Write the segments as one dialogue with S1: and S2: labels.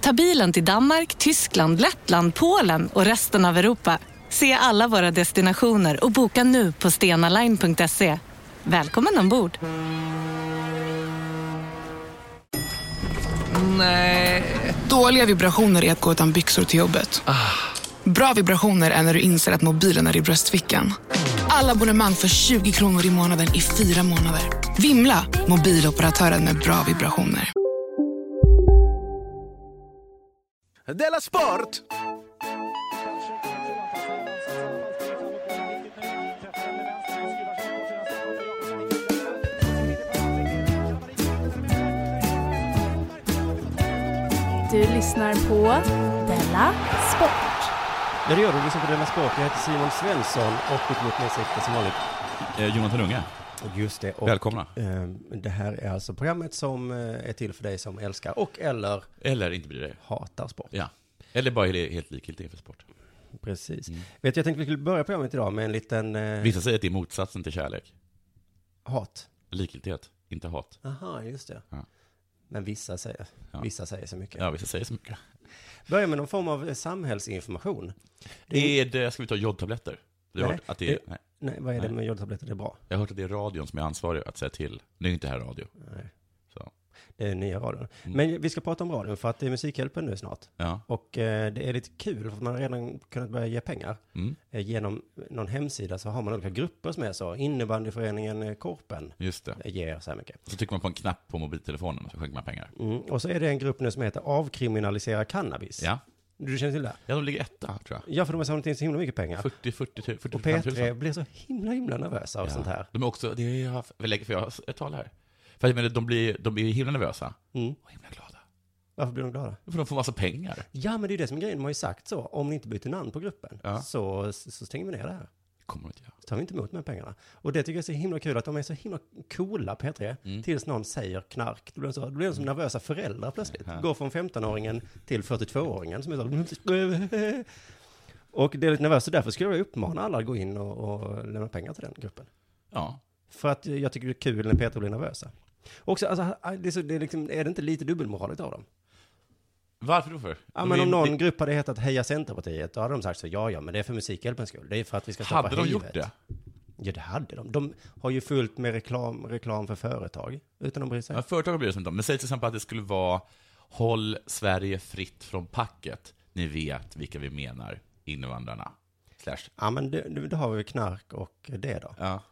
S1: Ta bilen till Danmark, Tyskland, Lettland, Polen och resten av Europa. Se alla våra destinationer och boka nu på stenaline.se. Välkommen ombord!
S2: Dåliga vibrationer är att gå utan byxor till jobbet. Bra vibrationer är när du inser att mobilen är i bröstfickan. Alla abonnemang för 20 kronor i månaden i fyra månader. Vimla! Mobiloperatören med bra vibrationer.
S3: Della Sport!
S4: Du lyssnar på Della Sport.
S5: Ja, det gör du. Du lyssnar på Della Sport. Jag heter Simon Svensson och mitt emot mig sitter som vanligt.
S6: Eh, Jonathan Unge,
S5: Just det. Och,
S6: välkomna.
S5: eh, det här är alltså programmet som eh, är till för dig som älskar och eller
S6: Eller inte bryr dig.
S5: hatar sport.
S6: Ja. Eller bara helt, helt likgiltig inför sport.
S5: Precis.
S6: Mm.
S5: Vet du, jag tänkte vi skulle börja programmet idag med en liten eh,
S6: Vissa säger att det är motsatsen till kärlek.
S5: hat.
S6: Likgiltighet, inte hat.
S5: Aha, just det.
S6: Ja.
S5: Men vissa säger,
S6: Ja.
S5: vissa säger så mycket.
S6: Ja, vissa säger så mycket.
S5: Börja med någon form av eh, samhällsinformation. Det-
S6: Är det, ska vi ta jodtabletter? Du har
S5: Nej,
S6: hört att det är,
S5: det-
S6: nej.
S5: Nej, vad är det
S6: Nej.
S5: med jodtabletter? Det är bra.
S6: Jag har hört att det är radion som är ansvarig att säga till. Nu är inte det här radio.
S5: Nej.
S6: Så.
S5: Det är nya radion.
S6: Mm.
S5: Men vi ska prata om radion för att det är Musikhjälpen nu snart.
S6: Ja.
S5: Och eh, det är lite kul för att man har redan kunnat börja ge pengar.
S6: Mm.
S5: Eh, genom någon hemsida så har man olika grupper som är så. Innebandyföreningen eh, Korpen
S6: Just det.
S5: eh, ger så här mycket.
S6: Så trycker man på en knapp på mobiltelefonen och så skänker man pengar.
S5: Mm. Och så är det en grupp nu som heter Avkriminalisera cannabis.
S6: Ja.
S5: Du känner till det?
S6: Ja, de ligger etta, tror jag.
S5: Ja, för de Alltså, har samlat in så himla mycket pengar.
S6: 40, 40, 40
S5: Och
S6: 45 000.
S5: P3 blir så himla, himla nervösa av sånt här.
S6: De är också, det är jag, lägger för jag har ett tal här. För jag menar, de blir, de blir himla nervösa
S5: Mm.
S6: och himla glada.
S5: Varför blir de glada?
S6: För de får massa pengar.
S5: Ja, men det är ju det som är grejen. De har ju sagt så. Om ni inte byter namn på gruppen
S6: Ja.
S5: så, så stänger vi ner det här.
S6: kommer de inte göra.
S5: Så tar vi inte emot de här pengarna. Och det tycker jag är så himla kul att de är så himla coola P3
S6: Mm.
S5: tills någon säger knark. Då blir de, så, då blir de som nervösa föräldrar plötsligt. Går från 15-åringen till 42-åringen som är så... Och det är lite nervöst så därför skulle jag uppmana alla att gå in och, och lämna pengar till den gruppen.
S6: Ja,
S5: För att jag tycker det är kul när P3 blir nervösa. Också, alltså, det är, så, det är, liksom, är det inte lite dubbelmoraligt av dem?
S6: varför då för?
S5: Ja,
S6: De
S5: men
S6: är-
S5: om
S6: Mm, det-
S5: någon grupp hade hetat Heja Centerpartiet, då hade de sagt så, ja, ja, men det är för Musikhjälpens skull. Det är för att vi ska stoppa
S6: Hade de
S5: hivet.
S6: gjort det?
S5: Ja, det hade de. De har ju fullt med reklam, reklam för företag, utan att bry sig.
S6: Ja, företag bryr sig inte om. Men säg till exempel att det skulle vara Håll Sverige fritt från packet. Ni vet vilka vi menar, invandrarna. Slash.
S5: Ja, men det, det, då har vi knark och det då.
S6: Ja.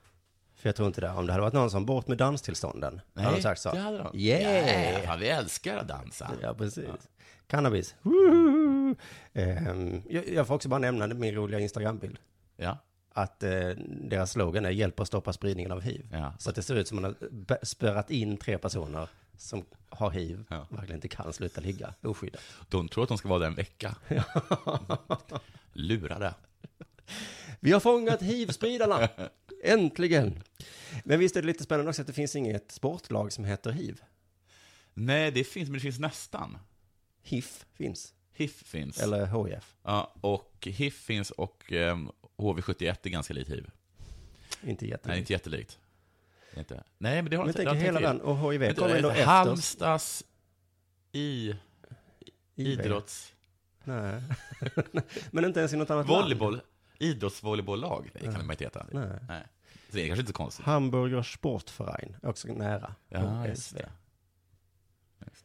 S5: För jag tror inte det. Om det hade varit någon som bort med danstillstånden, Nej, hade de sagt så.
S6: det hade de.
S5: Yeah!
S6: Ja, fan, vi älskar att dansa.
S5: Ja, precis. Cannabis. Woohoo!
S6: Mm.
S5: Ehm, jag, jag får också bara nämna min roliga Instagrambild.
S6: Ja.
S5: Att eh, deras slogan är hjälp att stoppa spridningen av hiv.
S6: Ja.
S5: Så att det ser ut som man har b- spärrat in tre personer som har hiv,
S6: Ja.
S5: verkligen inte kan sluta ligga oskyddat.
S6: De tror att de ska vara där en vecka. Lurade.
S5: Vi har fångat hivspridarna! Äntligen! Men visst är det lite spännande också att det finns inget sportlag som heter hiv.
S6: Nej, det finns, men det finns nästan.
S5: HIF finns,
S6: HIF finns.
S5: eller HIF.
S6: Ja, och HIF finns och ehm, HV71 är ganska likt HIV.
S5: Inte
S6: Nej,
S5: jättelikt.
S6: inte jättelikt. Inte. Nej, men det har
S5: Men
S6: inte... det har
S5: tänk
S6: inte
S5: hela
S6: till.
S5: den, och HIV
S6: Vänta,
S5: kommer ändå
S6: vänta,
S5: efter.
S6: Halmstads i
S5: IV.
S6: idrotts...
S5: Nej. Men inte ens i något annat land.
S6: Volleyboll? Idrottsvolleybollag? Det kan man inte heta.
S5: Nej.
S6: Nej. Så det är kanske inte så konstigt.
S5: Hamburger Sportverein, också nära.
S6: Ja,
S5: HSV.
S6: just det.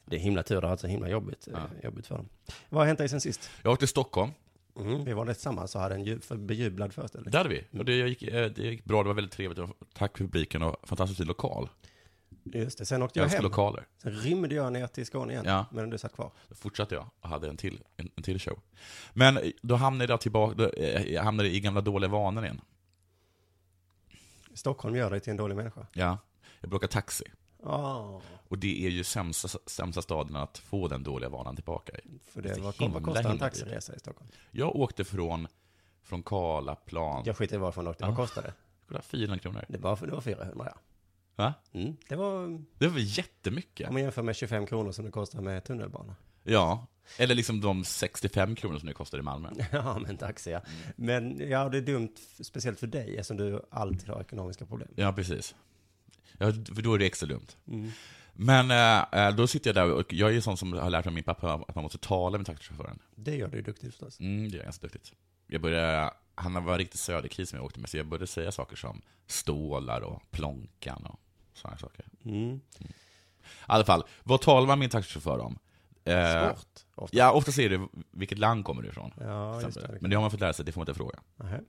S5: Det är himla tur, det har varit så himla jobbigt, eh,
S6: Ja.
S5: jobbigt för dem. Vad har hänt dig sen sist?
S6: Jag har varit i Stockholm.
S5: Mm, vi var där tillsammans och hade en ju- för- bejublad föreställning.
S6: Där hade vi. Och det gick, eh, det gick bra, det var väldigt trevligt. Tack för publiken och fantastiskt fin lokal.
S5: Just det, sen åkte
S6: Jag
S5: jag
S6: älskar
S5: hem.
S6: lokaler.
S5: Sen rymde jag ner till Skåne igen,
S6: Ja.
S5: medan du satt kvar.
S6: Då fortsatte jag och hade en till, en, en till show. Men då hamnade jag tillbaka, då, eh, jag hamnade i gamla dåliga vanor igen.
S5: Stockholm gör dig till en dålig människa.
S6: Ja. Jag bråkade taxi.
S5: Ja,
S6: Och det är ju sämsta, sämsta staden att få den dåliga vanan tillbaka i.
S5: för det,
S6: Det är
S5: var,
S6: himla,
S5: vad kostar en
S6: himla
S5: taxiresa i Stockholm?
S6: Jag åkte från, från Karlaplan.
S5: Jag skiter i varifrån du åkte, vad kostade det?
S6: Kolla, 400 kronor.
S5: Det var, det var 400, ja.
S6: Va?
S5: Mm. Det var,
S6: Det var jättemycket.
S5: om man jämför med 25 kronor som det kostar med tunnelbana.
S6: Ja. Eller liksom de 65 kronor som det kostar i Malmö.
S5: Ja, men taxi ja. Men ja, det är dumt, f- speciellt för dig, eftersom du alltid har ekonomiska problem.
S6: Ja, precis. Ja, för då är det extra dumt.
S5: Mm.
S6: Men eh, eh, då sitter jag där och jag är ju sån som har lärt mig av min pappa att man måste tala med taxichauffören.
S5: Det gör du ju duktigt förstås.
S6: Mm, det är ganska duktigt. Jag började, han var riktigt söderkis som jag åkte med, så jag började säga saker som stålar och plånkan och sådana saker. Mm. I alla fall, vad talar man med en taxichaufför om? Eh,
S5: Sport, ofta.
S6: Ja, ofta säger det vilket land kommer du ifrån.
S5: Ja, just det.
S6: Men det har man fått lära sig, det får man inte fråga.
S5: Nähä.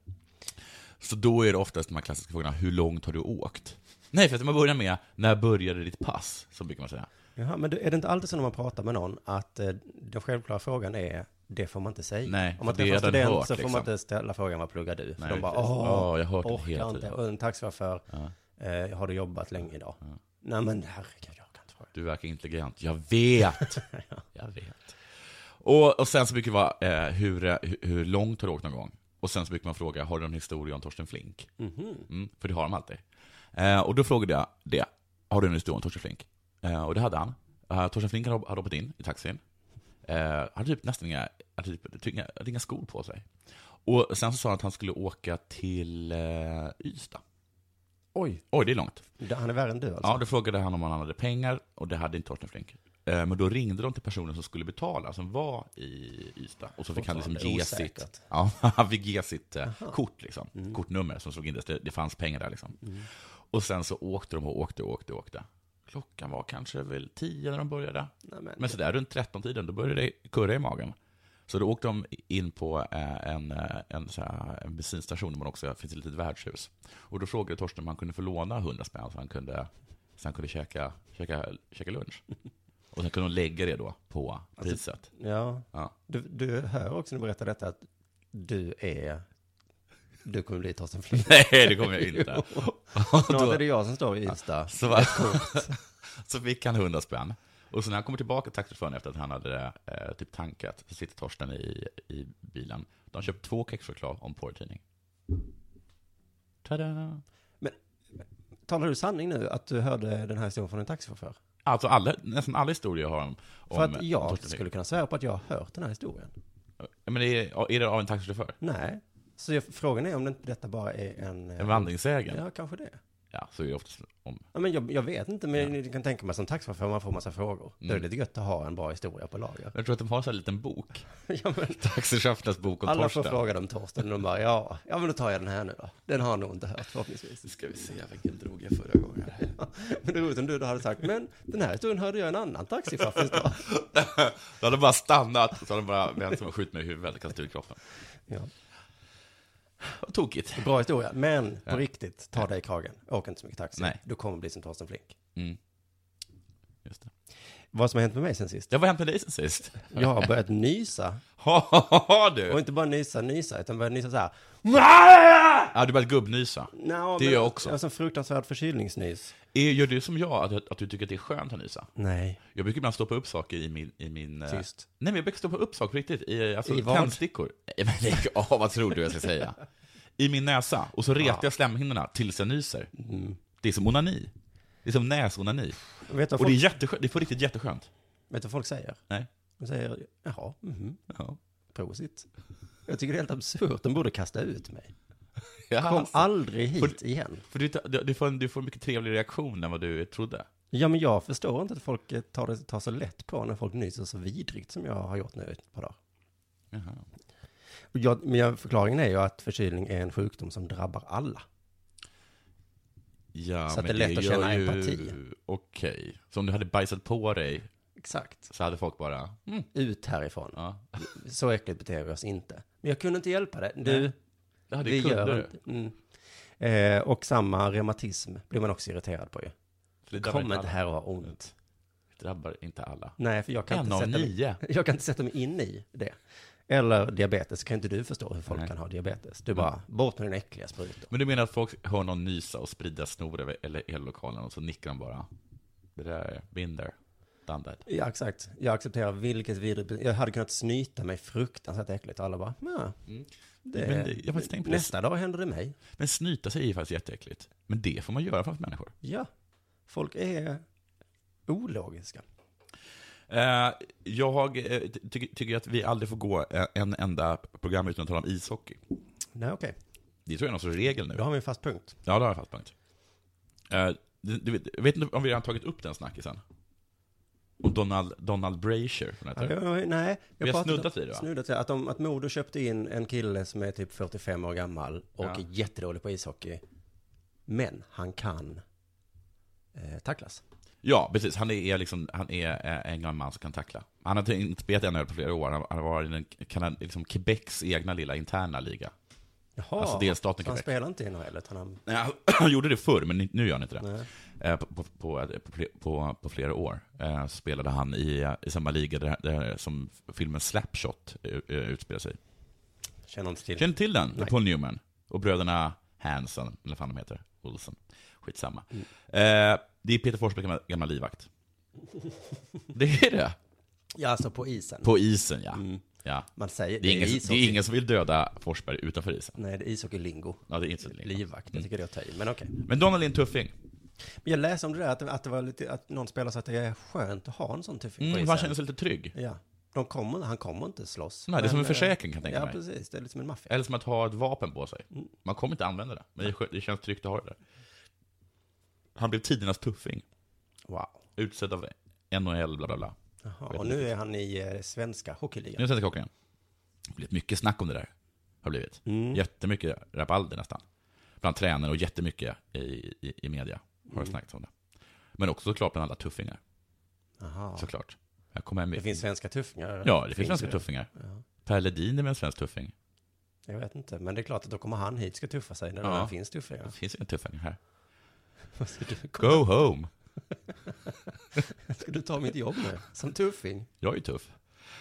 S6: Så då är det oftast de här klassiska frågorna, hur långt har du åkt? Nej, för att man börjar med, när började ditt pass? Så brukar man säga.
S5: Jaha, men du- är det inte alltid så när man pratar med någon att eh, den självklara frågan är det får man inte säga?
S6: Nej,
S5: Om man
S6: för det
S5: träffar en
S6: har den hört,
S5: student så får man
S6: liksom.
S5: inte ställa frågan vad pluggar du? För
S6: Nej,
S5: de bara
S6: precis.
S5: åh,
S6: Ja, jag har hört den
S5: orkar
S6: hela
S5: inte.
S6: tiden.
S5: Och en taxichaufför, eh, har du jobbat länge idag? Nej men herregud, jag kan inte fråga.
S6: Du verkar intelligent. Jag vet! Jag vet. Och, och sen så brukar det vara, eh, hur, eh, hur- hur långt har du åkt någon gång? Och sen så brukar man fråga, har du någon historia om Torsten Flink? Mm, för det har de alltid. Eh, och då frågade jag det, har du någon historia om Torsten Flink? Eh, och det hade han. Eh, Torsten Flink hade hade hoppat in i taxin. Eh, han hade typ nästan inga, hade typ, typ inga, hade inga skor på sig. Och sen så sa han att han skulle åka till eh, Ystad. Oj. Oj, det är långt.
S5: Det- Han är värre än du alltså?
S6: Ja, då frågade han om han hade pengar och det hade inte Torsten Flink. Eh, Men då ringde de till personen som skulle betala, som var i Ystad. Och så fick han liksom ge
S5: Osäkert. Mm.
S6: sitt, ja, han fick ge sitt eh, kort, liksom. kortnummer som såg in. Det, det fanns pengar där. Liksom. Och sen så åkte de och åkte och åkte och åkte. Klockan var kanske väl tio när de började. men sådär runt 13-tiden, då började det kurra i magen. Så då åkte de in på eh, en, eh, en, så här, en bensinstation där man också finns ett litet värdshus. Och då frågade Torsten om han kunde få låna 100 spänn så han kunde, så han kunde käka, käka, käka lunch. Och sen kunde de lägga det då på priset.
S5: Ja.
S6: Ja.
S5: Du, du hör också när du berättar detta att du är... Du kommer bli Torsten Flink.
S6: Nej, det kommer jag inte.
S5: Snart är det jag som står i Ystad.
S6: Så, var, så fick han 100 spänn. Och så när han kommer tillbaka till taxichauffören efter att han hade eh, typ tankat, så sitter Torsten i, i bilen. De har köpt två kexchoklad och en porrtidning. Tada!
S5: Talar du sanning nu att du hörde den här historien från en taxichaufför?
S6: Alltså alla, nästan alla historier jag har om... om
S5: För att jag
S6: Torsten
S5: skulle kunna svära på att jag har hört den här historien.
S6: Ja, Men är, är det av en taxichaufför?
S5: Nej. Så jag, frågan är om det inte detta bara är en... eh,
S6: En vandringssägen? Ja.
S5: Ja, kanske det.
S6: så är det oftast om...
S5: Ja, men jag, jag vet inte, men jag kan tänka mig som taxichaufför, man får massa frågor. Då
S6: Mm.
S5: är det lite gött att ha en bra historia på lager.
S6: Jag tror att de har så här en liten bok.
S5: ja, men,
S6: Taxichaufförernas bok om
S5: alla får
S6: Torsten.
S5: fråga dem Torsten och de bara, ja, ja men då tar jag den här nu då. Den har nog inte hört förhoppningsvis.
S6: Ska vi se, vilken drog jag förra gången?
S5: Men det är roligt om du då hade sagt, men den här historien hörde jag en annan taxichaufför dra.
S6: Då hade de bara stannat, så hade de bara vänt sig och skjutit mig i huvudet och kastat ut kroppen.
S5: Ja.
S6: Vad tokigt.
S5: Bra historia, men på riktigt, ta dig i kragen. Åk inte så mycket taxi.
S6: Nej. Mm.
S5: Du kommer bli som Torsten Flink.
S6: Just det.
S5: Vad som har hänt med mig sen sist?
S6: Ja, vad har hänt med dig sen sist?
S5: Jag har börjat nysa.
S6: Har
S5: Och
S6: du?
S5: inte bara nysa, nysa, utan börjat nysa så här.
S6: Ja, du börjat gubbnysa.
S5: Nå,
S6: Det gör
S5: men-
S6: jag också.
S5: Jag har sån fruktansvärd förkylningsnys.
S6: Är- Gör du som jag, att, att du tycker att det är skönt att nysa?
S5: Nej.
S6: Jag brukar ibland stoppa upp saker i min... I min eh,
S5: Tyst.
S6: Nej, men jag brukar stoppa upp saker på riktigt. I, alltså,
S5: I vad?
S6: tändstickor. Nej, men lägg av, vad tror du jag ska säga? I min näsa. Och så retar jag slemhinnorna tills jag nyser.
S5: Mm.
S6: Det är som onani. Det är som näsonani.
S5: Vet du
S6: Och
S5: vad
S6: det är
S5: folk,
S6: jätteskönt. Det är på riktigt jätteskönt.
S5: vet du vad folk säger?
S6: Nej.
S5: De säger, jaha, mhm,
S6: Ja.
S5: prosit. Jag tycker det är helt absurt. De borde kasta ut mig.
S6: Ja,
S5: Kom
S6: alltså.
S5: aldrig hit igen.
S6: För du, du, du, får en, du får en mycket trevlig reaktion än vad du trodde.
S5: Ja, men jag förstår inte att folk eh, tar, det, tar så lätt på när folk nyser så vidrigt som jag har gjort nu ett par dagar.
S6: Jaha.
S5: Och Jag, men jag, förklaringen är ju att förkylning är en sjukdom som drabbar alla.
S6: Ja,
S5: Så att
S6: men
S5: det är lätt att
S6: gör
S5: känna
S6: ju...
S5: empati.
S6: Okej. Så om du hade bajsat på dig
S5: Exakt.
S6: så hade folk bara... Mm,
S5: Ut härifrån.
S6: ja.
S5: Så äckligt beter vi oss inte. Men jag kunde inte hjälpa det. Du,
S6: Det hade
S5: vi
S6: ju kunder.
S5: gör inte. Mm. Eh, och samma reumatism blir man också irriterad på ju.
S6: För det drabbar
S5: Kom
S6: inte
S5: inte
S6: alla.
S5: här och ha ont.
S6: Det drabbar inte alla.
S5: Nej, för jag kan,
S6: En
S5: inte
S6: av
S5: sätta mig,
S6: nio.
S5: jag kan inte sätta mig in i det. Eller diabetes, kan inte du förstå hur folk kan ha diabetes? Du bara,
S7: Mm.
S5: bort med den äckliga sprutor.
S6: Men du menar att folk hör någon nysa och sprida snor över eller hela lokalen och så nickar de bara? Det där är binder, done that.
S7: Ja, exakt. Jag accepterar vilket vidrigt... be- Jag hade kunnat snyta mig fruktansvärt äckligt. Och alla bara, ja. Det,
S6: Men det- jag har faktiskt tänkt på det.
S7: nästa dag händer det mig.
S6: Men snyta sig är ju faktiskt jätteäckligt. Men det får man göra framför människor.
S7: Ja. Folk är ologiska.
S6: Eh, jag eh, ty- tycker tycker att vi aldrig får gå eh, en enda program utan att tala om ishockey.
S7: Nej, okej.
S6: Det tror jag är någon sorts regel nu.
S7: Då har vi en fast punkt.
S6: Ja, det har jag fast punkt. Eh, du, du, vet- jag vet inte om vi redan tagit upp den snackisen? Om Donald, Donald Brasher, som heter.
S7: Ja, det var- nej, jag
S6: Vi har
S7: pratade-
S6: snuddat vid det, va?
S7: Snuddat vid att, de, att Modo köpte in en kille som är typ 45 år gammal och
S6: Ja.
S7: är jättedålig på ishockey. Men han kan eh, tacklas.
S6: Ja, precis. Han är, liksom, han är eh, en gammal man som kan tackla. Han har inte spelat i NHL på flera år. Han, han var i den, Kanad- liksom Quebecs egna lilla interna liga.
S7: Jaha,
S6: Alltså delstaten
S7: så han
S6: Quebec.
S7: spelar inte i NHL utan han...
S6: Nej, han- han gjorde det förr, men nu gör han inte det. Eh, På, på, på, på, fle- på, på flera år eh, så spelade han i, eh, i samma liga där, där, som filmen Slapshot eh, eh, utspelar sig.
S7: Känner inte till.
S6: Känner du till den? Med Paul Newman och bröderna Hanson, eller vad fan de heter, Olsen. Skitsamma.
S7: Mm.
S6: Eh, det är Peter Forsbergs gamla, gamla livvakt. Det är det.
S7: Ja, alltså på isen. Mm.
S6: På isen, ja. ja.
S7: Man säger
S6: Det, är ingen, det
S7: ishockey.
S6: är ingen som vill döda Forsberg utanför isen.
S7: Nej, det är ishockey-lingo.
S6: Ja, det är inte Mm.
S7: Livvakt, jag tycker det är att ta i, men okej.
S6: Men Donald är en tuffing.
S7: Men jag läste om det där att, det- att det var lite, att någon spelare sa att det är skönt att ha en sån
S5: typ
S7: tuffing
S6: Mm,
S7: på isen.
S6: han känner sig lite trygg.
S7: Ja. De kommer, han kommer inte slåss.
S6: Nej, det är som en
S7: Men, eh,
S6: försäkring, kan jag tänka
S7: Ja,
S6: mig.
S7: precis. Mm. Det är lite som en maffia.
S6: Eller som att ha ett vapen på sig. Man kommer inte använda det, men det, är skö- det känns tryggt att ha det där. Han blev tidernas tuffing.
S7: Wow.
S6: Utsedd av NHL, bla bla bla.
S7: Jaha, och nu är han i eh, svenska hockeyligan.
S6: Nu är Svenska Kocken igen. Det har blivit mycket snack om det där. Har blivit.
S7: Mm.
S6: Jättemycket rabalder nästan. Bland tränare och jättemycket i, i, i media
S7: Mm.
S6: har det snackats om det. Men också såklart bland alla tuffingar.
S7: Jaha.
S6: Såklart. Jag kommer hem
S7: Det finns svenska tuffingar.
S6: Ja, det finns svenska
S7: ju.
S6: tuffingar. Per Ledin är väl en svensk tuffing?
S7: Jag vet inte, men det är klart att då kommer han hit ska tuffa sig när det
S6: Ja.
S7: väl finns tuffingar.
S6: Det finns inga tuffingar här.
S7: Ska du,
S6: Go home!
S7: ska du ta mitt jobb nu? Som tuffing?
S6: Jag är ju tuff.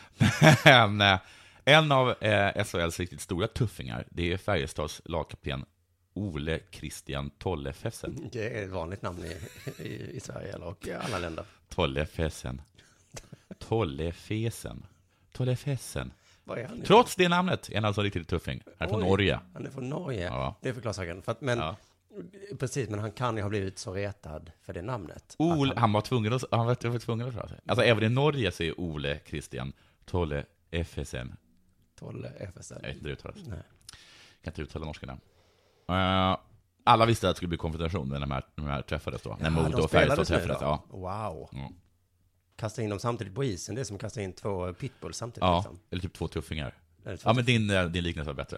S6: Men eh, en av eh, SHLs riktigt stora tuffingar, det är Färjestads lagkapten Ole Christian Tollefessen.
S7: Det är ett vanligt namn i, i, i Sverige eller och i alla länder.
S6: Tollefessen. Tollefesen. Tollefessen.
S7: Vad är han? ifrån?
S6: Trots det namnet är han alltså en riktigt tuffing. Han är från
S7: Oj,
S6: Norge.
S7: Han är från Norge.
S6: Ja.
S7: Det förklarar saken. För att, men,
S6: Ja.
S7: Precis, men han kan ju ha blivit så retad för det namnet.
S6: Ole, han var tvungen att, han var, han var tvungen att röra sig. Alltså även i Norge så är Ole Christian Tollefesen.
S7: Tolle
S6: Jag
S7: FSL.
S6: vet inte hur det uttalas.
S7: Nej.
S6: kan inte uttala norska namn. Eh, alla visste att det skulle bli konfrontation när de här, när de här träffades då. när Modo och Färjestad träffades. Ja.
S7: Wow.
S6: Mm.
S7: Kasta in dem samtidigt på isen, det är som att kasta in två pitbulls samtidigt.
S6: Ja,
S7: Liksom.
S6: eller typ två tuffingar.
S7: Eller två
S6: Ja, men
S7: Mm.
S6: din, eh, din liknelse var bättre.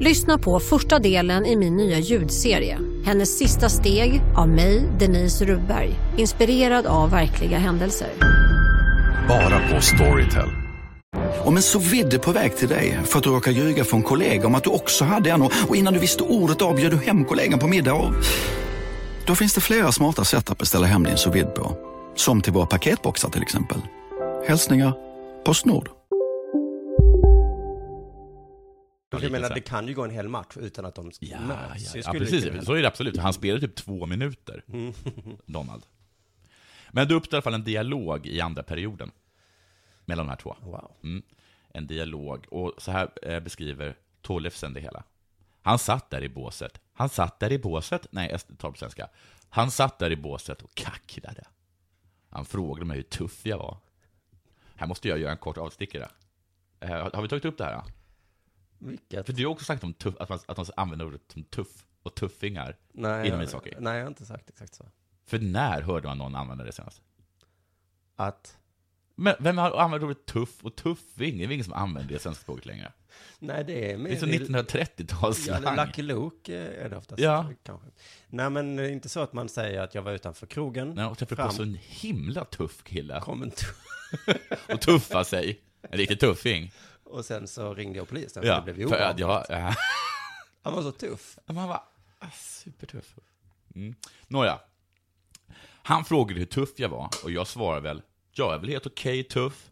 S8: Lyssna på första delen i min nya ljudserie. Hennes sista steg av mig, Denise Rubberg. Inspirerad av verkliga händelser.
S9: Bara på Storytel.
S10: Om en så vidde på väg till dig för att du råkar ljuga från kollega om att du också hade en och och innan du visste ordet av bjöd du hem kollegan på middag och... Då finns det flera smarta sätt att beställa hem din sous vide på. Som till våra paketboxar till exempel. Hälsningar Postnord.
S7: Jag menar, det kan ju gå en hel match utan att de
S6: Ja, ja,
S7: möts. Det
S6: ja,
S7: skulle ju kunna-
S6: precis. Så är det absolut. Han spelade typ två minuter, Donald. Men det uppstår i alla fall en dialog i andra perioden. Mellan de här två.
S7: Wow.
S6: Mm. En dialog. Och så här eh, beskriver Tollefsen det hela. Han satt där i båset. Han satt där i båset. Nej, jag tar på svenska. Han satt där i båset och kacklade. Han frågade mig hur tuff jag var. Här måste jag göra en kort avstickare. Eh, har har vi tagit upp det här? Då?
S7: Vilket?
S6: För du har också sagt om tuff, att, man, att man använder ordet som tuff och tuffingar
S7: Nej,
S6: inom
S7: jag-
S6: ishockey.
S7: Nej, jag har inte sagt exakt så.
S6: För när hörde man någon använda det senast?
S7: Att,
S6: Men vem har använder ordet tuff och tuffing? Det är väl ingen som använder det i svenska språket längre?
S5: Nej, det är mer...
S6: Det är så 1930-talsslang.
S5: Ja, Lucky Luke eh, är det oftast.
S6: Ja.
S5: Kanske. Nej, men det är inte så att man säger att jag var utanför krogen.
S6: Nej, och träffade på så en himla tuff kille.
S5: Kom en tuff.
S6: och tuffa sig. En riktig tuffing.
S5: Och sen så ringde jag polisen, för
S6: Ja,
S5: det blev ju
S6: för att
S5: obehagligt.
S6: jag... ja.
S5: Han var så tuff.
S6: Man var ah, supertuff. Mm. Nåja. Han frågade hur tuff jag var och jag svarade väl, jag är väl helt okej tuff.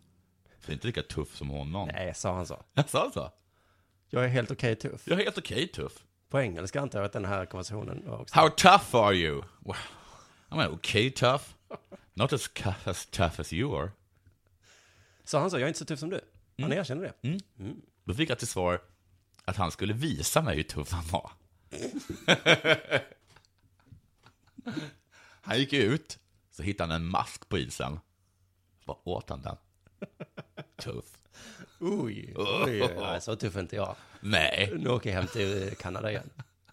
S6: För det är inte lika tuff som honom.
S5: Nej, sa han så.
S6: Jag sa så.
S5: Jag är helt okej tuff.
S6: Jag är helt okej tuff.
S5: På engelska antar jag att den här konversationen var också.
S6: How tough are you? Well, I'm okay tough. Not as, cu- as tough as you are.
S5: Så han sa, jag är inte så tuff som du. Han
S6: Mm.
S5: erkände det.
S6: Mm. Då fick jag till svar att han skulle visa mig hur tuff han var. han gick ut, så hittade han en mask på isen. Vad åt han den? Tuff.
S5: Oj, oj, oj, nej, så tuff är inte jag.
S6: Nej.
S5: Nu åker jag hem till eh, Kanada igen.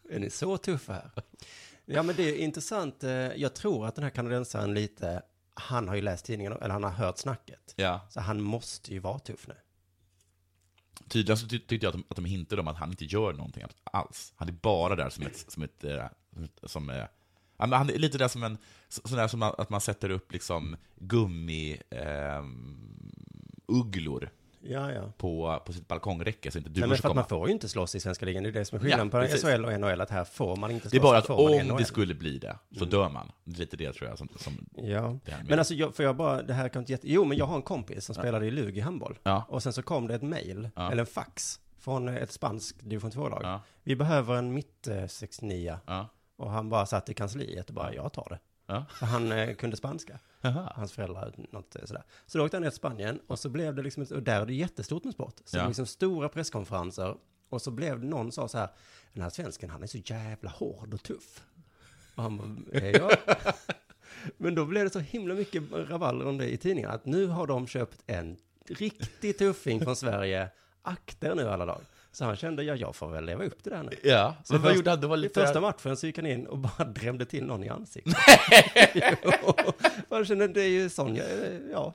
S5: Är ni så tuffa här? Ja, men det är intressant. Eh, Jag tror att den här kanadensaren lite, han har ju läst tidningen, eller han har hört snacket.
S6: Ja.
S5: Så han måste ju vara tuff nu.
S6: Tydligen så ty- tyckte jag att de, att de hintade om att han inte gör någonting alls. Han är bara där som ett... Som ett eh, som, eh, ja, men han är lite där som en... så- Sån där som man- att man sätter upp liksom gummi... ehm, ugglor
S5: Ja, ja.
S6: på, på sitt balkongräcke så inte
S5: Nej,
S6: du
S5: men för
S6: ska
S5: att man
S6: komma.
S5: får ju inte slåss i svenska ligan. Det är det som är skillnaden
S6: Ja,
S5: på
S6: precis.
S5: SHL och NHL, att här får man inte slåss.
S6: Det är bara att
S5: så får man i Mm.
S6: om
S5: NHL.
S6: det skulle bli det, så dör man. Det är lite det tror jag som... som
S5: Ja,
S6: det här med.
S5: men alltså, jag, för jag bara, det här kan inte jätte... Jo, men jag har en kompis som spelade i Lugi handboll.
S6: Ja.
S5: Och sen så kom det ett mail,
S6: Ja.
S5: eller en fax, från ett spanskt division 2-lag.
S6: Ja.
S5: Vi behöver en mitt eh, 69
S6: Ja.
S5: Och han bara satt i kansliet och bara, jag tar det.
S6: Ja.
S5: För han eh, kunde spanska.
S6: Jaha.
S5: Hans föräldrar, något eh, sådär. Så då åkte han ner till Spanien och så blev det liksom, ett- och där är det jättestort med sport.
S6: Ja.
S5: Så det var liksom stora presskonferenser. Och så blev det någon sa så här, den här svensken han är så jävla hård och tuff. Och han bara, är jag? Men då blev det så himla mycket rabalder om det i tidningen. Att nu har de köpt en riktig tuffing från Sverige. Akta er nu alla lag. Så han kände, ja jag får väl leva upp till det här nu.
S6: Ja,
S5: Så
S6: men vad
S5: först-
S6: gjorde han? Det var lite...
S5: I första matchen så gick han in och bara drämde till någon i ansiktet. Jo. Man känner, det är ju sån jag är. ja.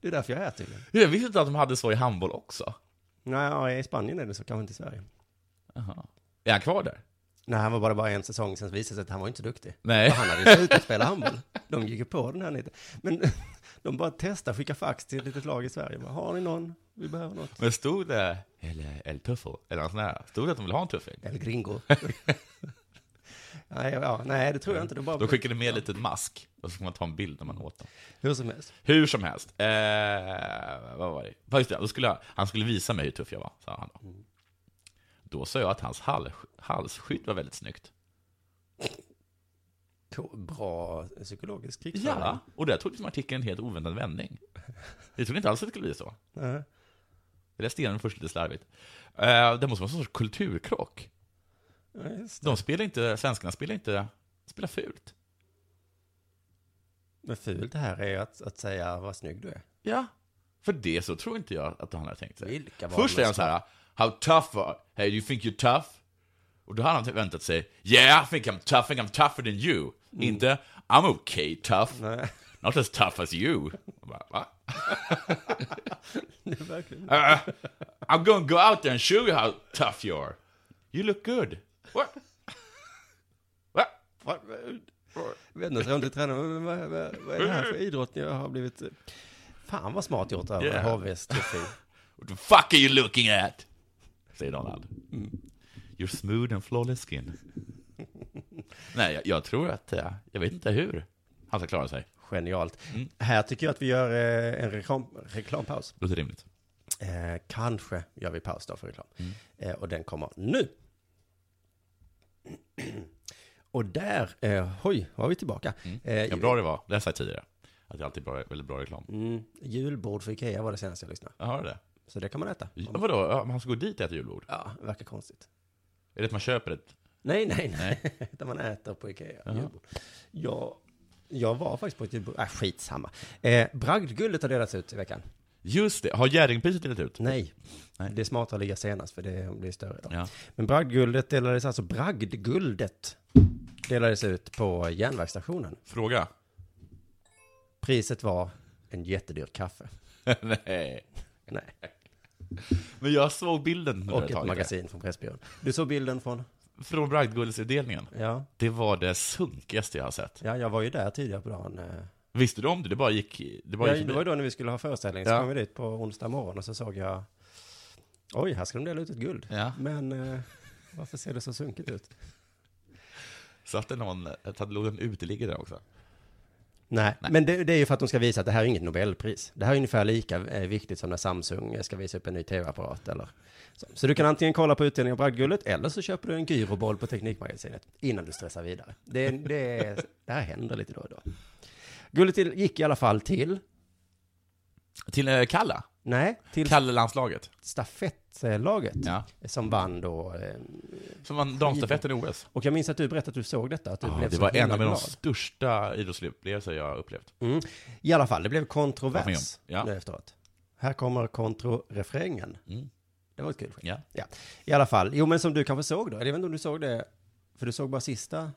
S5: Det är därför jag är tydligen.
S6: Jag visste inte att de hade så i handboll också.
S5: Nej, ja, i Spanien är det så, kanske inte i Sverige.
S6: Jaha. Är han kvar där?
S5: Nej, han var bara, bara en säsong, sen visade det sig att han var inte så duktig.
S6: Nej.
S5: Och han hade ju slutat spela handboll. De gick ju på den här lite. Men de bara testade, skicka fax till ett litet lag i Sverige. Bara, har ni någon? Vi behöver något.
S6: Men stod det... Eller El Tuffo? Eller något sånt där. Stod det att de ville ha en tuffing?
S5: El Gringo. nej, ja, nej, det tror jag inte. Det bara...
S6: De skickade med lite mask, och så ska man ta en bild när man åt dem.
S5: Hur som helst.
S6: Hur som helst, eh, vad var det? Ja, Just det, då skulle jag, han skulle visa mig hur tuff jag var, sa han då.
S5: Mm.
S6: Då sa jag att hans hals, halsskydd var väldigt snyggt.
S5: Ko- Bra psykologisk krigföring.
S6: Ja, och där tog liksom artikeln en helt oväntad vändning. Jag trodde inte alls att det skulle bli så.
S5: Nej.
S6: Jag läste igenom den först lite slarvigt. Eh, det måste vara en sorts kulturkrock.
S5: Ja, just det.
S6: De spelar inte, svenskarna spelar inte, spelar fult.
S5: Men fult det här är ju att, att säga vad snygg du är.
S6: Ja, för det så tror inte jag att han har tänkt sig.
S5: Vilka var
S6: Först
S5: de
S6: är han så här, how tough are, hey you think you're tough? Och då har han väntat sig, yeah I think I'm tough, I think I'm tougher than you. Inte, I'm okay tough,
S5: Mm. Nej.
S6: not as tough as you. Jag Bara, Va?
S5: Det är verkligen...
S6: Uh, I'm gonna go out there and show you how tough you are. You look good. What? What? What?
S5: Vänder sig om till tränaren. Men Vad, vad, vad är det här för
S6: Mm.
S5: idrott jag har blivit... eh, Fan vad smart gjort av
S6: Yeah.
S5: yeah. HVs tuffing.
S6: What the fuck are you looking at? Säger Donald.
S5: Mm.
S6: You're smooth and flawless skin. Nej, jag, jag tror att, eh, jag vet inte hur han ska klara sig.
S5: Genialt.
S6: Mm.
S5: Här tycker jag att vi gör eh, en reklam, reklampaus.
S6: Låter rimligt.
S5: Eh, kanske gör vi paus då för reklam.
S6: Mm.
S5: Eh, och den kommer nu. och där, eh, hoj, var vi tillbaka. Eh,
S6: Ja, bra det var, det har jag sagt tidigare. Att det alltid är bra, väldigt bra reklam.
S5: Mm, julbord för Ikea var det senaste jag lyssnade.
S6: Jag hör det.
S5: Så det kan man äta.
S6: Ja, vadå, Ja, man ska gå dit och äta julbord?
S5: Ja, verkar konstigt.
S6: Är det att man köper ett?
S5: Nej, nej, nej. Utan man äter på Ikea. Julbord. Jag, jag var faktiskt på ett julbord. Äh, skitsamma. Eh, Bragdguldet har delats ut i veckan.
S6: Just det, har Jerringpriset delat ut?
S5: Nej.
S6: Nej.
S5: Det är smartare att ligga senast för det blir större idag.
S6: Ja.
S5: Men Bragdguldet delades alltså, Bragdguldet delades ut på järnvägsstationen.
S6: Fråga?
S5: Priset var en jättedyr kaffe.
S6: Nej.
S5: Nej.
S6: Men jag såg bilden nu
S5: Och
S6: ett
S5: ett
S6: tag.
S5: magasin från Pressbyrån. Du såg bilden från?
S6: Från Bragdguldsutdelningen.
S5: Ja.
S6: Det var det sunkigaste jag har sett.
S5: Ja, jag var ju där tidigare på dagen. eh.
S6: Visste du om det? Det bara gick... Det bara
S5: ja,
S6: gick
S5: det var ju då när vi skulle ha föreställning, så
S6: Ja.
S5: kom vi dit på onsdag morgon och så såg jag, oj, här ska de dela ut ett guld.
S6: Ja.
S5: Men eh, varför ser det så sunkigt ut?
S6: Satt det någon... Satt låg en uteliggare där också?
S5: Nej, men det, det är ju för att de ska visa att det här är inget Nobelpris. Det här är ungefär lika eh, viktigt som när Samsung eh, ska visa upp en ny tv-apparat eller så. Så du kan antingen kolla på utdelningen av Bragdguldet eller så köper du en gyroboll på Teknikmagasinet innan du stressar vidare. Det, det, är- det här händer lite då och då. Guldet till- gick i alla fall till,
S6: Till eh, Kalla?
S5: nej, till
S6: Kalle-landslaget?
S5: stafettlaget
S6: Ja.
S5: som vann då. eh,
S6: Som vann damstafetten i OS?
S5: Och jag minns att du berättade att du såg detta, att du
S6: Ja,
S5: blev
S6: det
S5: så
S6: var en
S5: himla
S6: av de
S5: glad.
S6: största idrottsupplevelser jag har upplevt.
S5: Mm. I alla fall, det blev
S6: Jag var med om.
S5: kontrovers
S6: Ja.
S5: nu efteråt. Här kommer kontrorefrängen.
S6: Mm.
S5: Det var ett kul skämt.
S6: Ja.
S5: Ja. I alla fall, jo men som du kanske såg då, eller jag vet inte om du såg det, för du såg bara sista.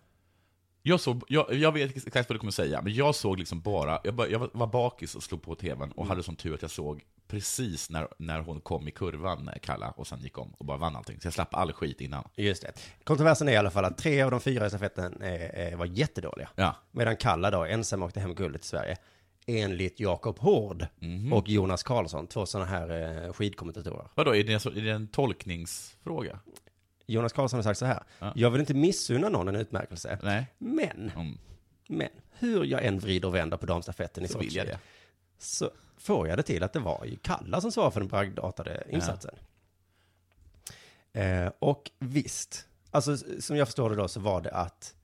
S6: Jag, såg, jag, jag vet exakt vad du kommer säga, men jag såg liksom bara, jag, bara, jag var- var bakis och slog på tvn och
S5: Mm.
S6: hade som tur att jag såg precis när, när hon kom i kurvan, eh, Kalla, och sen gick om och bara vann allting. Så jag slapp all skit innan.
S5: Just det. Kontroversen är i alla fall att tre av de fyra i stafetten eh, eh, var jättedåliga.
S6: Ja.
S5: Medan Kalla då ensam åkte hem guldet till Sverige. Enligt Jakob Hård
S6: Mhm.
S5: och Jonas Karlsson, två sådana här eh, skidkommentatorer.
S6: Vadå, är det, så- är det en tolkningsfråga?
S5: Jonas Karlsson har sagt så här.
S6: Ja.
S5: Jag vill inte missunna någon en utmärkelse.
S6: Nej.
S5: Men,
S6: Mm.
S5: men, hur jag än vrider och vänder på damstafetten i
S6: Så
S5: Sochi,
S6: vill jag det.
S5: så får jag det till att det var ju Kalla som svarade för den bragdartade insatsen. Eh, och visst, alltså s- som jag förstår det då så var det att,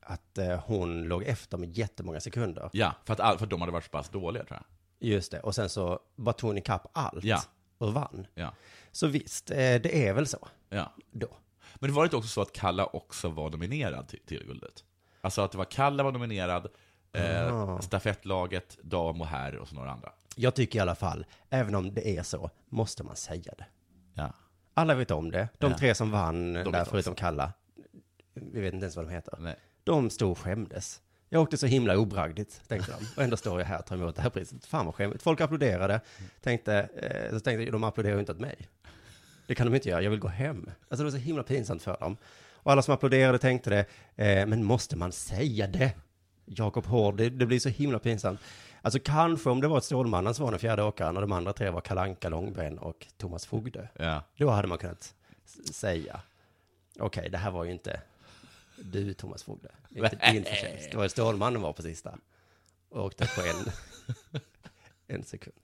S5: att eh, hon låg efter med jättemånga sekunder.
S6: Ja, för att, all, för att de hade varit så pass dåliga tror jag.
S5: Just det, och sen så bara tog hon ikapp allt
S6: Ja.
S5: och vann.
S6: Ja.
S5: Så visst, eh, det är väl så
S6: ja.
S5: då.
S6: Men det var inte också så att Kalla också var nominerad till, till guldet? Alltså att det var Kalla var nominerad, eh, stafettlaget, dam och herr och så några andra.
S5: Jag tycker i alla fall, även om det är så, måste man säga det.
S6: Ja.
S5: Alla vet om det. De
S6: Ja.
S5: tre som vann
S6: vet
S5: där
S6: om
S5: förutom Kalla, vi vet inte ens vad de heter.
S6: Nej.
S5: De stod och skämdes. Jag åkte så himla obragdigt, tänkte de. Och ändå står jag här och tar emot det här priset. Fan vad skämmigt. Folk applåderade. Tänkte, eh, så tänkte jag, de applåderar ju inte åt mig. Det kan de inte göra, jag vill gå hem. Alltså det var så himla pinsamt för dem. Och alla som applåderade tänkte det, eh, men måste man säga det? Jakob Hård, det, det blir så himla pinsamt. Alltså kanske om det var att Stålmannen som var den fjärde åkaren och de andra tre var Kalanka Långben och Thomas Fogde.
S6: Ja.
S5: Då hade man kunnat s- säga, okej, det här var ju inte du Thomas Fogde, det är inte din förtjänst. Det var ju Stålmannen var på sista. Och åkte på en, en sekund.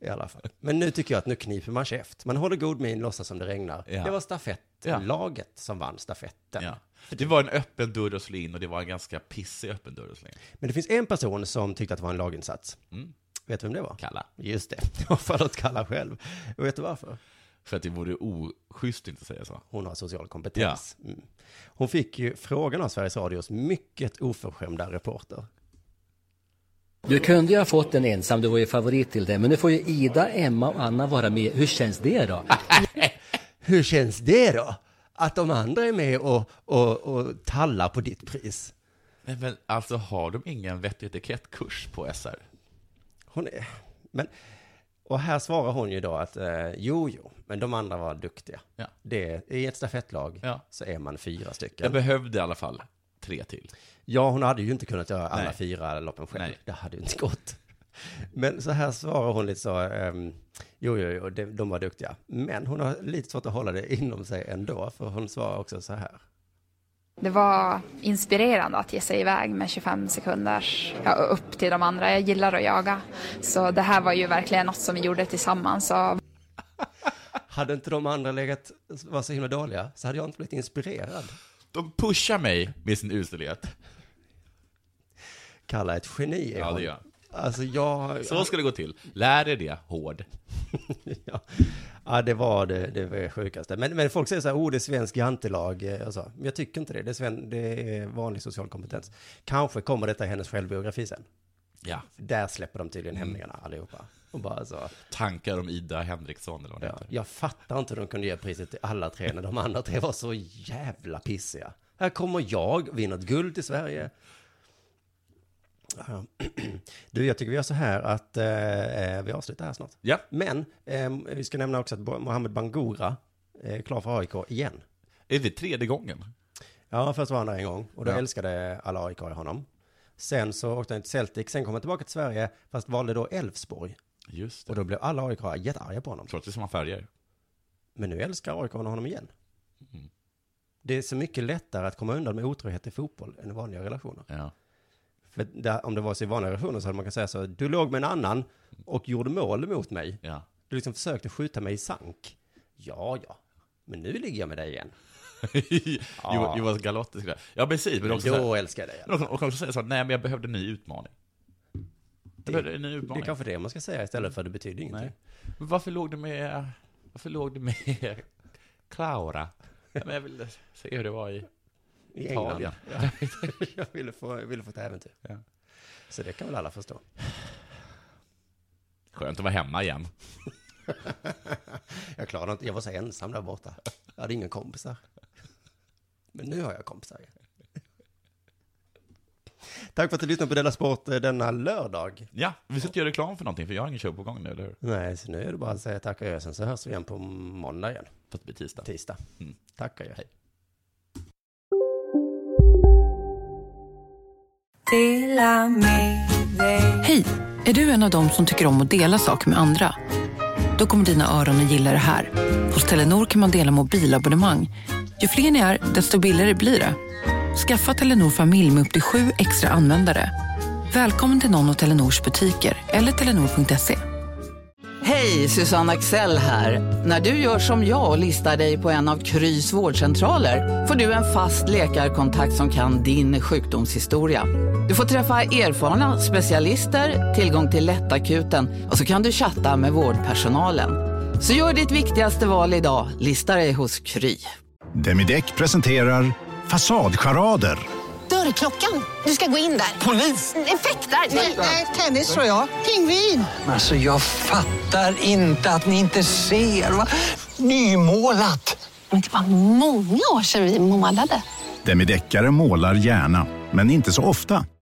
S5: I alla fall. Men nu tycker jag att nu kniper man käft. Man håller god min, låtsas som det regnar.
S6: Ja.
S5: Det var stafettlaget som vann stafetten.
S6: Ja. typ- Det var en öppen dörr att slå in och det var en ganska pissig öppen dörr att slå in.
S5: Men det finns en person som tyckte att det var en laginsats.
S6: Mm.
S5: Vet du vem det var?
S6: Kalla.
S5: Just det, det var Charlotte Kalla själv. Och vet du varför?
S6: För att det vore oschysst att inte säga så.
S5: Hon har social kompetens. Mm. Hon fick ju frågan av Sveriges Radios mycket oförskämda reporter.
S11: Du kunde ju ha fått en ensam, du var ju favorit till det. Men nu får ju Ida, Emma och Anna vara med. Hur känns det då?
S5: Hur känns det då? Att de andra är med och, och, och tallar på ditt pris?
S6: Nej, men alltså har de ingen vettig etikettkurs på SR?
S5: Hon är... Men... Och här svarar hon ju då att eh, jo, jo, men de andra var duktiga.
S6: Ja.
S5: Det, I ett stafettlag
S6: Ja.
S5: så är man fyra stycken.
S6: Jag behövde i alla fall tre till.
S5: Ja, hon hade ju inte kunnat göra alla
S6: Nej.
S5: fyra loppen själv.
S6: Nej.
S5: Det hade ju inte gått. Men så här svarar hon lite så, ehm, jo, jo, jo, de, de var duktiga. Men hon har lite svårt att hålla det inom sig ändå, för hon svarar också så här.
S12: Det var inspirerande att ge sig iväg med 25 sekunders ja, upp till de andra. Jag gillar att jaga. Så det här var ju verkligen något som vi gjorde tillsammans. Och
S5: Hade inte de andra legat, var så himla dåliga, så hade jag inte blivit inspirerad.
S6: De pushar mig med sin uselhet.
S5: Kalla ett geni är
S6: Ja,
S5: hon.
S6: det gör jag.
S5: Alltså jag...
S6: Så ska det gå till. Lär er det, hård.
S5: ja. ja, det var det, det var det sjukaste. Men, men folk säger så här, oh det är svensk jantelag. eh, Och så. Men jag tycker inte det, det är, sven, det är vanlig social kompetens. Kanske kommer detta i hennes självbiografi sen.
S6: Ja.
S5: Där släpper de tydligen hämningarna allihopa. Och bara så,
S6: Tankar om Ida Henriksson eller vad det
S5: ja,
S6: heter.
S5: jag fattar inte hur de kunde ge priset till alla tre när de andra tre var så jävla pissiga. Här kommer jag, vinner ett guld i Sverige. Ja. Du, jag tycker vi gör så här att eh, vi avslutar här snart.
S6: Ja.
S5: Men eh, vi ska nämna också att Bo- Mohamed Bangura eh, är klar för AIK igen.
S6: Är det tredje gången?
S5: Ja, först var han där en gång och då
S6: Ja.
S5: älskade alla AIK honom. Sen så åkte han till Celtic, sen kom han tillbaka till Sverige, fast valde då Elfsborg.
S6: Just
S5: Och då blev alla AIK jättearga på honom.
S6: Trots det är samma färger.
S5: Men nu älskar AIK honom igen. Det är så mycket lättare att komma undan med otrohet i fotboll än i vanliga relationer. För där, om det var så i vanliga relationer så hade man kunnat säga så, du låg med en annan och gjorde mål mot mig. Du liksom försökte skjuta mig i sank. Ja, ja, men nu ligger jag med dig igen.
S6: Jo- Jonas Galotti skulle Ja, precis.
S5: Men
S6: också
S5: då
S6: så här-
S5: älskar jag dig.
S6: Men också- Och också säga så här, nej men jag behövde en ny utmaning.
S5: Det,
S6: behövde en ny
S5: det är
S6: utmaning.
S5: kanske det man ska säga istället för det betyder ingenting.
S6: Nej. Men varför låg du med, varför låg du med Claura? Ja, men jag ville se hur det var i
S5: I
S6: Italien.
S5: England. Ja. jag ville få, jag ville få ett äventyr. Så det kan väl alla förstå.
S6: Skönt att vara hemma igen.
S5: jag klarade inte, jag var så ensam där borta. Jag hade inga kompisar. Men nu har jag kompisar igen. Tack för att du lyssnade på Della Sport eh, denna lördag.
S6: Ja, vi ska inte göra reklam för någonting, för jag har ingen show på gång nu, eller hur?
S5: Nej, så nu är det bara att säga tack och gör. Sen så hörs vi igen på måndag igen.
S6: Fast det blir tisdag. Mm.
S5: Tisdag. Tack och gör. Hej.
S1: Hej! Är du en av dem som tycker om att dela saker med andra? Då kommer dina öron att gilla det här. Hos Telenor kan man dela mobilabonnemang. Ju fler ni är, desto billigare blir det. Skaffa Telenor familj med upp till sju extra användare. Välkommen till någon av Telenors butiker eller telenor.se.
S13: Hej, Susanne Axel här. När du gör som jag och listar dig på en av Krys vårdcentraler får du en fast läkarkontakt som kan din sjukdomshistoria. Du får träffa erfarna specialister, tillgång till lättakuten och så kan du chatta med vårdpersonalen. Så gör ditt viktigaste val idag, listar dig hos Kry.
S7: Demideck presenterar Fasadcharader.
S14: Dörrklockan. Du ska gå in där. Polis? Effektar? Nej, tennis tror jag. Pingvin.
S15: Alltså jag fattar inte att ni inte ser. Va? Nymålat.
S14: Men det var många år sedan vi målade.
S7: Demideckare målar gärna, men inte så ofta.